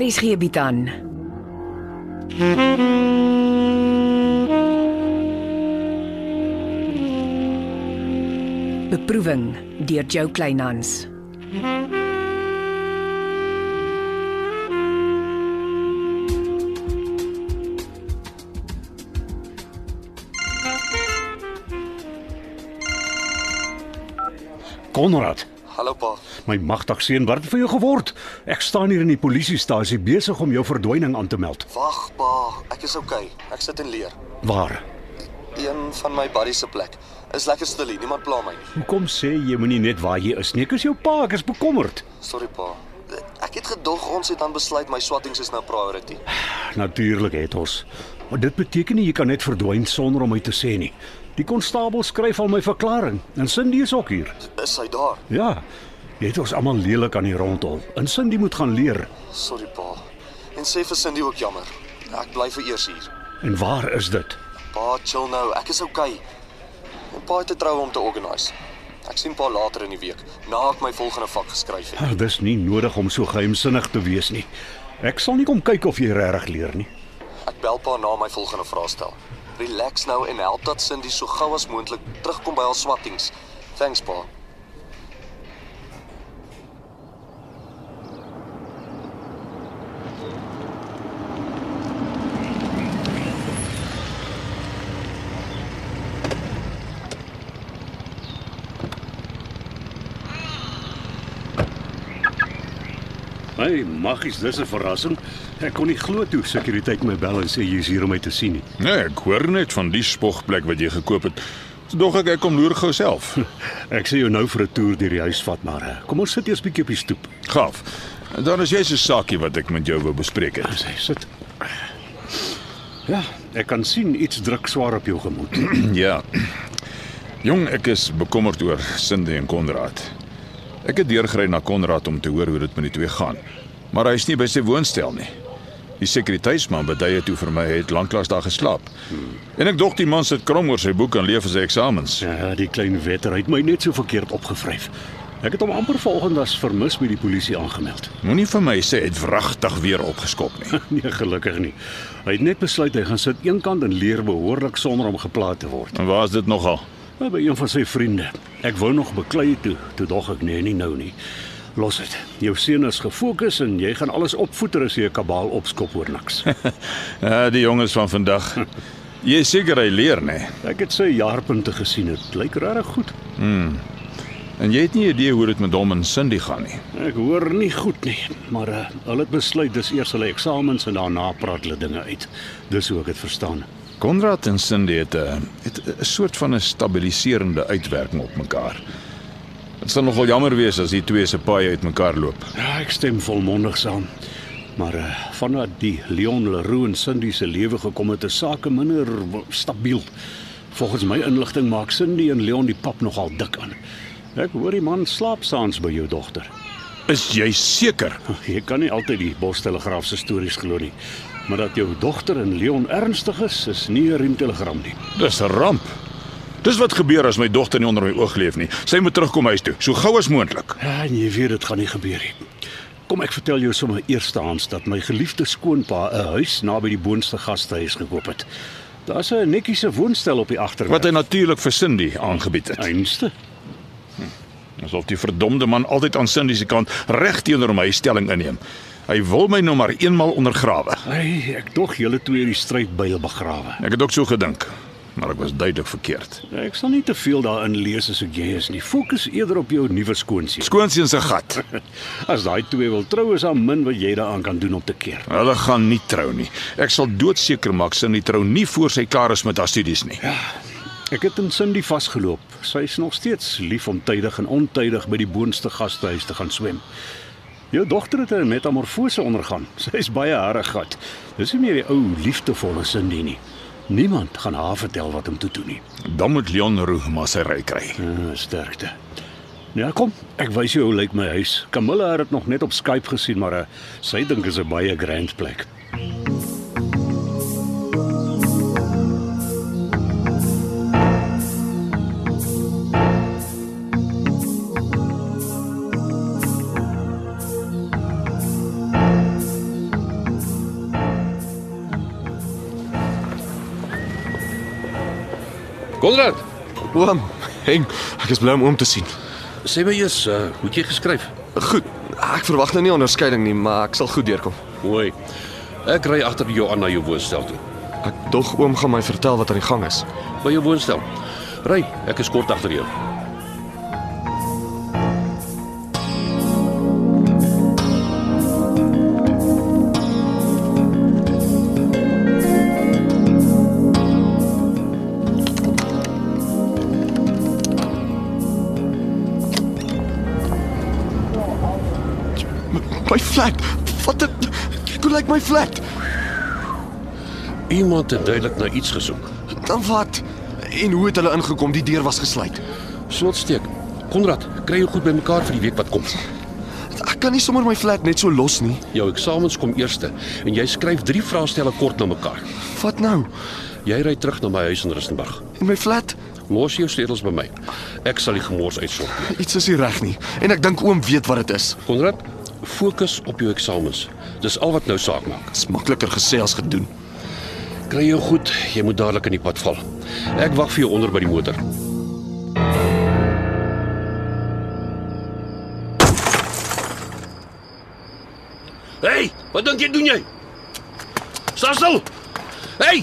RSG bied aan. Beproeving deur Jo Kleinhans. Konrad, Hallo pa. my magtig seun, wat het vir jou geword? Ek staan hier in die polisiestasie besig om jou verdwyning aan te meld. Wag pa, ek is oukei. Okay. Ek sit en leer. Waar? Een van my buddies se plek. Is lekker stil hier, niemand pla my nie. Hoekom sê jy moenie net waar jy is nie? Ek is jou pa, ek is bekommerd. Sorry pa. Ek het gedog ons het dan besluit my swattings is nou priority. Natuurlik het ons. Maar dit beteken nie jy kan net verdwyn sonder om my te sê nie. Die konstabel skryf al my verklaring en Cindy is ook hier. Is hy daar? Ja. Jy het ons almal lelik aan die rondhol. En Cindy moet gaan leer. Sorry pa. En sê vir Cindy ook jammer. Ek bly vir eers hier. En waar is dit? Pa, chill nou. Ek is oukei. Okay. En pa het 'n trou om te organise. Ek sien pa later in die week, na ek my volgende vak geskryf het. Ag, Ah, dis nie nodig om so geheimsinnig te wees nie. Ek sal nie kom kyk of jy regtig leer nie. Ek bel pa na my volgende vraestel. Relax nou en help dat Cindy so gou as moontlik terugkom by haar swattings. Thanks pa. Hey, maggies, dis 'n verrassing. Ek kon nie glo toe sekuriteit my bel en sê jy is hier om my te sien nie. Nee, ek hoor net van die spogplek wat jy gekoop het. So dog ek ek kom loer gou self. Ek sê jou nou vir 'n toer deur die huis vat, maar eh, kom ons sit eers bietjie op die stoep. Gaaf. Dan is jy se saakie wat ek met jou wou bespreek het. Sê, sit. Ja, ek kan sien iets druk swaar op jou gemoed. Ja. Jong, ek is bekommerd oor Cindy en Konrad. Ek het deurgery na Konrad om te hoor hoe dit met die twee gaan. Maar hy is nie by sy woonstel nie. Die sekuriteitsman beduie toe vir my hy het lanklaas daar geslaap. En ek dog die man sit krom oor sy boek en leef vir sy eksamens. Ja, die klein wetter het my net so verkeerd opgevryf. Ek het hom amper vanoggend as vermis by die polisie aangemeld. Moenie vir my sê hy het wragtig weer opgeskop nie. Nee, gelukkig nie. Hy het net besluit hy gaan sit eenkant en leer behoorlik sonder om geplaat te word. En waar is dit nogal? Maar by een van sy vriende. Ek wou nog beklei toe, toe dog ek nee, nie nou nie. Los dit. Jou seun is gefokus en jy gaan alles opvoeter as jy 'n kabaal opskop oor niks. Ja, die jonges van vandag. Jy is seker hy leer nê. Ek het sy jaarpunte gesien. Dit lyk regtig goed. En jy het nie 'n idee hoe dit met hom en Cindy gaan nie. Ek hoor nie goed nie, maar uh, hulle het besluit dis eers hulle eksamens en daarna praat hulle dinge uit. Dis hoe ek dit verstaan. Konrad en Cindy het 'n het 'n soort van 'n stabiliserende uitwerking op mekaar. Dit sal nogal jammer wees as die twee se paai uitmekaar loop. Ja, ek stem volmondig saam. Maar uh, vanaf die Leon Leroux en Cindy se lewe gekom het, is sake minder w- stabiel. Volgens my inligting maak Cindy en Leon die pap nogal dik aan. Ek hoor die man slaap saans by jou dogter. Is jy seker? Jy kan nie altyd die Bostelegraaf se stories glo nie. Maar dat jou dogter en Leon ernstig is, is nie 'n riemtelegram nie. Dis 'n ramp. Dis wat gebeur as my dogter nie onder my oog leef nie. Sy moet terugkom huis toe, so gou as moontlik. Ja, en jy weet dit gaan nie gebeur nie. Kom ek vertel jou sommer eerstehands dat my geliefde skoonpa 'n huis naby die Boonste gastehuis gekoop het. Daar's 'n netjiese woonstel op die agterkant. Wat hy natuurlik vir Cindy aangebied het. einste? Asof die verdomde man altyd aan Cindy se kant reg teenoor my stelling inneem. Hy wil my nou maar eenmal ondergrawe. Ai, ek dog julle twee hierdie stryd byl begrawe. Ek het ook so gedink, maar ek was duidelik verkeerd. Ek sal nie te veel daarin lees as ek jy is nie. Fokus eerder op jou nuwe skoonseun. Skoonseun se gat. As daai twee wil trou, is daar min wat jy daaraan kan doen om te keer. Hulle gaan nie trou nie. Ek sal doodseker maak Cindy trou nie voor sy klaar is met haar studies nie. Ek het in Cindy vasgeloop. Sy is nog steeds lief om tydig en ontydig by die boonste gastehuis te gaan swem. Jou dogter het 'n metamorfose ondergaan. Sy is baie haregat. Dis nie meer die ou liefdevolle Cindy nie. Niemand gaan haar vertel wat om te doen nie. Dan moet Leon Roux maar sy ry kry. Uh, sterkte. Ja, kom. Ek wys jou hoe lyk my huis. Camilla het dit nog net op Skype gesien, maar uh, sy dink dit is 'n baie grand plek. Konrad, Oom, Henk, ek is bly om oom te sien. sê my eers, uh, hoe het jy geskryf? Goed, ek verwag nou nie onderskeiding nie, maar ek sal goed deurkom. Mooi. Ek ry agter jou aan na jou woonstel toe. Ek dog oom gaan my vertel wat aan die gang is. By jou woonstel. Ry, ek is kort agter jou. My flat. Wat 'n Hoe lyk my flat? Iemand het duidelik na iets gesoek. Dan wat? En hoe het hulle ingekom? Die deur was gesluit. Slotsteek. Konrad, kry jou goed bymekaar vir die week wat kom. Ek kan nie sommer my flat net so los nie. Jou eksamens kom eerste en jy skryf drie vraestelle kort na mekaar. Wat nou? Jy ry terug na my huis in Rustenburg. En my flat? Los jou sleutels by my. Ek sal die gemors uitsort. Iets is nie reg nie. En ek dink oom weet wat dit is. Konrad, fokus op jou eksamens. Dis al wat nou saak maak. Dis makliker gesê as gedoen. Kry jou goed, jy moet dadelik in die pad val. Ek wag vir jou onder by die motor. Hey, wat dink jy doen jy? Staan stil. Hey!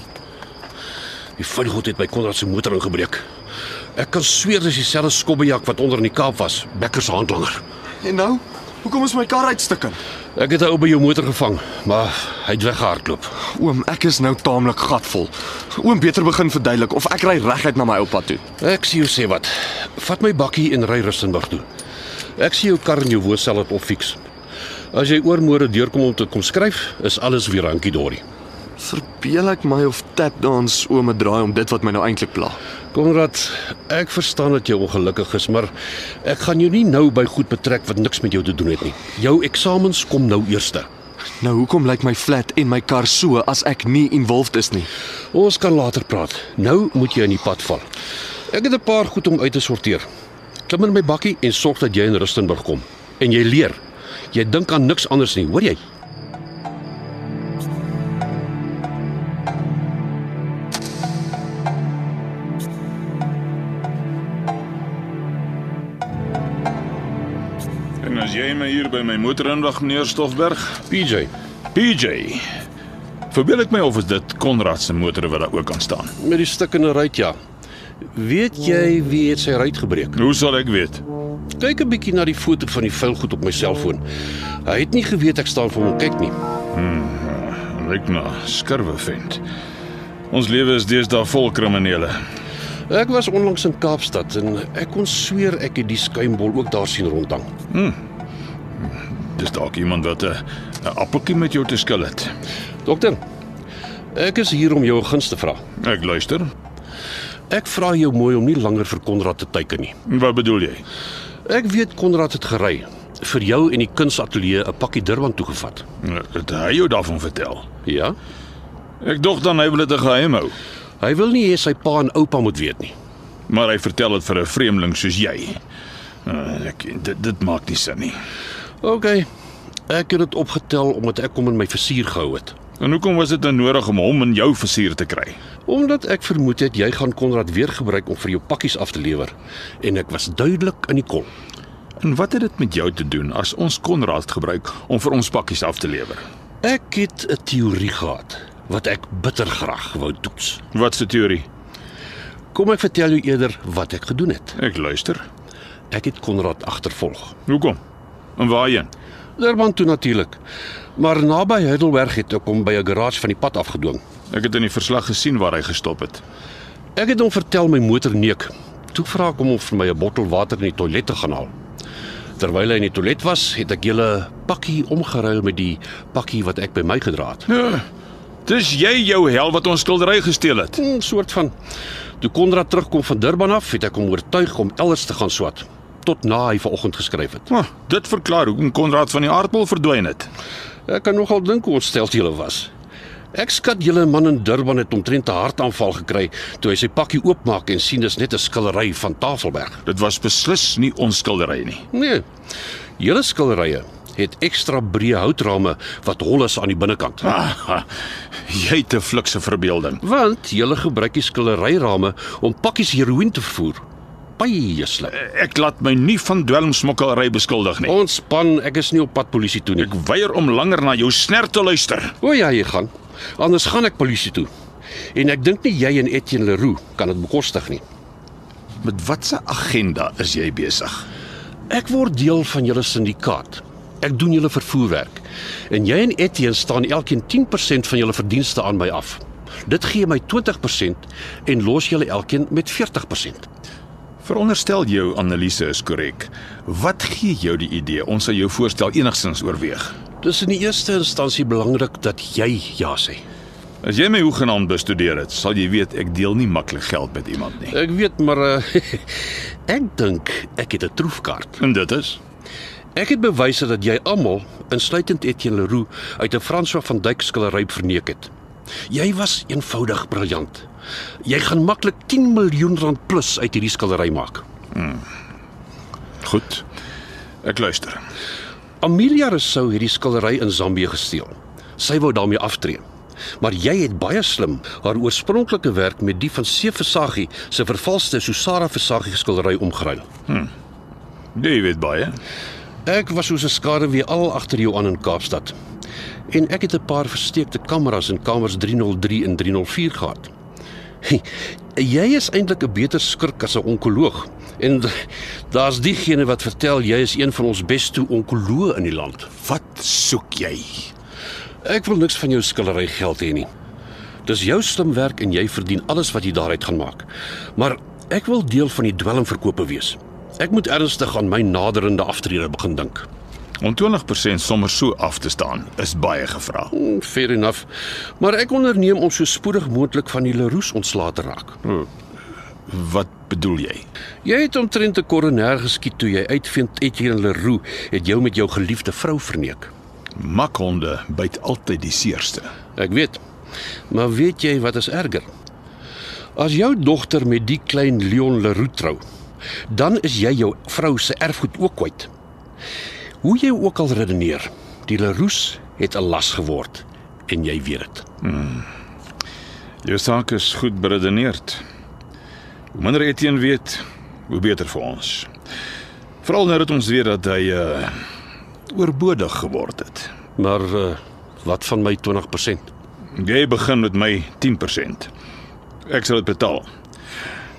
Die vuurgoed het by Konrad se motor ingebreek. Ek kan sweer dis dieselfde skobbejak wat onder in die Kaap was, Becker se handlanger. En nou? Hoekom is my kar uitstukken? Ek het hom by jou motor gevang, maar hy het weggehardloop. Oom, ek is nou taamlik gatvol. Oom beter begin verduidelik of ek ry reguit na my oupa toe. Ek sien jou sê wat. Vat my bakkie en ry Rustenburg toe. Ek sien jou kar in jou woonstel op opfiks. As jy oormôre deurkom om te kom skryf, is alles weer hankie dorie. Verbeel ek my of tap dans oom 'n draai om dit wat my nou eintlik pla. Konrad, ek verstaan dat jy ongelukkig is, maar ek gaan jou nie nou by goed betrek wat niks met jou te doen het nie. Jou eksamens kom nou eerste. Nou hoekom lyk my flat en my kar so as ek nie involved is nie? Ons kan later praat. Nou moet jy in die pad val. Ek het 'n paar goed om uit te sorteer. Klim in my bakkie en sorg dat jy in Rustenburg kom en jy leer. Jy dink aan niks anders nie, hoor jy? En as jy my hier by my motor inwag, meneer Stoffberg, PJ, PJ. Verbeel ek my of is dit Konrad se motor wat daar ook aan staan? Met die stukkende ruit ja. Weet jy wie het sy ruit gebreek? Hoe sal ek weet? Kyk 'n bietjie na die foto van die vuilgoed op my selfoon. Hy het nie geweet ek staan vir hom kyk nie. Lyk na skurwe vent. Ons lewe is deesdae vol kriminele. Ek was onlangs in Kaapstad en ek kon sweer ek het die skuimbol ook daar sien rondhang. Dis dalk iemand wat 'n 'n appeltjie met jou te skil het. Dokter, ek is hier om jou 'n guns te vra. Ek luister. Ek vra jou mooi om nie langer vir Konrad te teiken nie. Wat bedoel jy? Ek weet Konrad het gery vir jou en die kunsateljee 'n pakkie Durban toegevat. Het hy jou daarvan vertel? Ja? Ek dog dan hy wil dit 'n geheim hou, Hy wil nie hê sy pa en oupa moet weet nie. maar hy vertel dit vir 'n vreemdeling soos jy. Eh, Ek dit, dit maak nie sin nie. OK. Ek het dit opgetel omdat ek hom in my versuur gehou het. En hoekom was dit dan nodig om hom in jou versier te kry? Omdat ek vermoed het jy gaan Konrad weer gebruik om vir jou pakkies af te lewer en ek was duidelik in die kol. En wat het dit met jou te doen as ons Konrad gebruik om vir ons pakkies af te lewer? Ek het 'n teorie gehad wat ek bitter graag wou toets. Wat se teorie? Kom ek vertel jou eerder wat ek gedoen het. Ek luister. Ek het Konrad agtervolg. Hoekom? En waarheen? Durban toe natuurlik. Maar naby Heidelberg het ek hom by 'n garage van die pad afgedwing. Ek het in die verslag gesien waar hy gestop het. Ek het hom vertel my motor neek. Toe vra ek hom om vir my 'n bottel water in die toilet te gaan haal. Terwyl hy in die toilet was, het ek julle pakkie omgeruil met die pakkie wat ek by my gedra het. Ja, dis jy jou hel wat ons skildery gesteel het. 'n Hmm, soort van toe Konrad terugkom van Durban af, het ek hom oortuig om elders te gaan swat tot na hy vanoggend geskryf het. Oh, dit verklaar hoekom Konrad van die aardbol verdwyn het. Ek kan nogal dink hoe ontsteld jy was. Ek skat julle man in Durban het omtrent 'n hartaanval gekry toe hy sy pakkie oopmaak en sien dis net 'n skillery van Tafelberg. Dit was beslis nie ons skildery nie. Nee. Julle skilderye het ekstra breë houtrame wat hol is aan die binnekant. Ah, jy het 'n flikse verbeelding. Want hulle gebruik die skillereirame om pakkies heroïne te vervoer. Baie slim. Ek laat my nie van dwelmsmokkelry beskuldig nie. Ontspan, ek is nie op pad polisie toe nie. Ek weier om langer na jou sner te luister. O ja, jy gaan. Anders gaan ek polisie toe. En ek dink nie jy en Etienne Leroux kan dit bekostig nie. Met watse agenda is jy besig? Ek word deel van julle syndikaat. Ek doen julle vervoerwerk. En jy en Etienne staan elkeen 10% van julle verdienste aan my af. Dit gee my 20% en los julle elkeen met 40%. Veronderstel jou analise is korrek. Wat gee jou die idee ons sal jou voorstel enigstens oorweeg? Dis in die eerste instansie belangrik dat jy ja sê. As jy my hoegenaamd bestudeer het, sal jy weet ek deel nie maklik geld met iemand nie. Ek weet maar uh, ek dink ek het 'n troefkaart. En dit is Ek het bewyse dat jy almal, insluitend Etienne Leroux, uit 'n François van Dyk skillery verneek het. Jy was eenvoudig briljant. Jy gaan maklik 10 miljoen rand plus uit hierdie skillery maak. goed. Ek luister. Amelia Rousseau het die skillery in Zambië gesteel. Sy wou daarmee aftree. Maar jy het baie slim haar oorspronklike werk met die van C. Versaghi se vervalste Susara Versaghi skillery omgeruil. David baie. Ek was soos 'n skaduwee al agter jou aan in Kaapstad. En ek het 'n paar versteekte kameras in kamers 303 en 304 gehad. Jy is eintlik 'n beter skurk as 'n onkoloog. En daar's diegene wat vertel jy is een van ons beste onkoloë in die land. Wat soek jy? Ek wil niks van jou skillery geld hê nie. Dis jou slim werk en jy verdien alles wat jy daaruit gaan maak. Maar ek wil deel van die dwelmverkope wees. Ek moet ernstig aan my naderende aftrede begin dink. Om 20% sommer so af te staan is baie gevra. Hmm, Fair enough. Maar ek onderneem om so spoedig moontlik van die Leroux ontslae te raak. Wat bedoel jy? Jy het omtrent 'n koronêr geskiet toe jy uitvind Etienne Leroux het jou met jou geliefde vrou verneek. Makhonde byt altyd die seerste. Ek weet. Maar weet jy wat is erger? As jou dogter met die klein Leon Leroux trou, dan is jy jou vrou se erfgoed ook kwyt. Hoe jy ook al redeneer, die Leroux het 'n las geword en jy weet dit. Jou saak is goed beredeneerd. Hoe minder Etienne weet, hoe beter vir ons. Veral nou dat ons weet dat hy uh oorbodig geword het. Maar uh, wat van my 20%? Jy begin met my 10%. Ek sal dit betaal.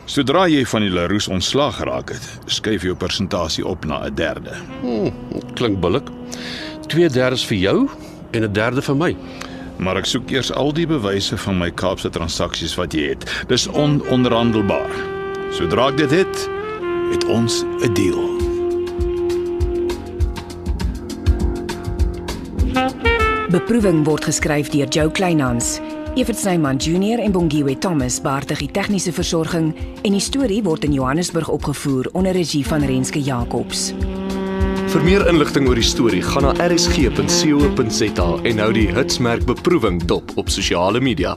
Sodra jy van die Leroux ontslaag geraak het, skuif jou persentasie op na 'n derde. Klink billik. 2/3 vir jou en 'n derde vir my. Maar ek soek eers al die bewyse van my Kaapse transaksies wat jy het. Dis ononderhandelbaar. Sodra ek dit het, het ons 'n deal. Beproeving word geskryf deur Jo Kleinhans. Evert Snyman Junior en Bongwe Thomas baartig die tegniese versorging en die storie word in Johannesburg opgevoer onder regie van Renske Jacobs. Vir meer inligting oor die storie, gaan na rsg.co.za en hou die hitsmerk beproewing dop op sosiale media.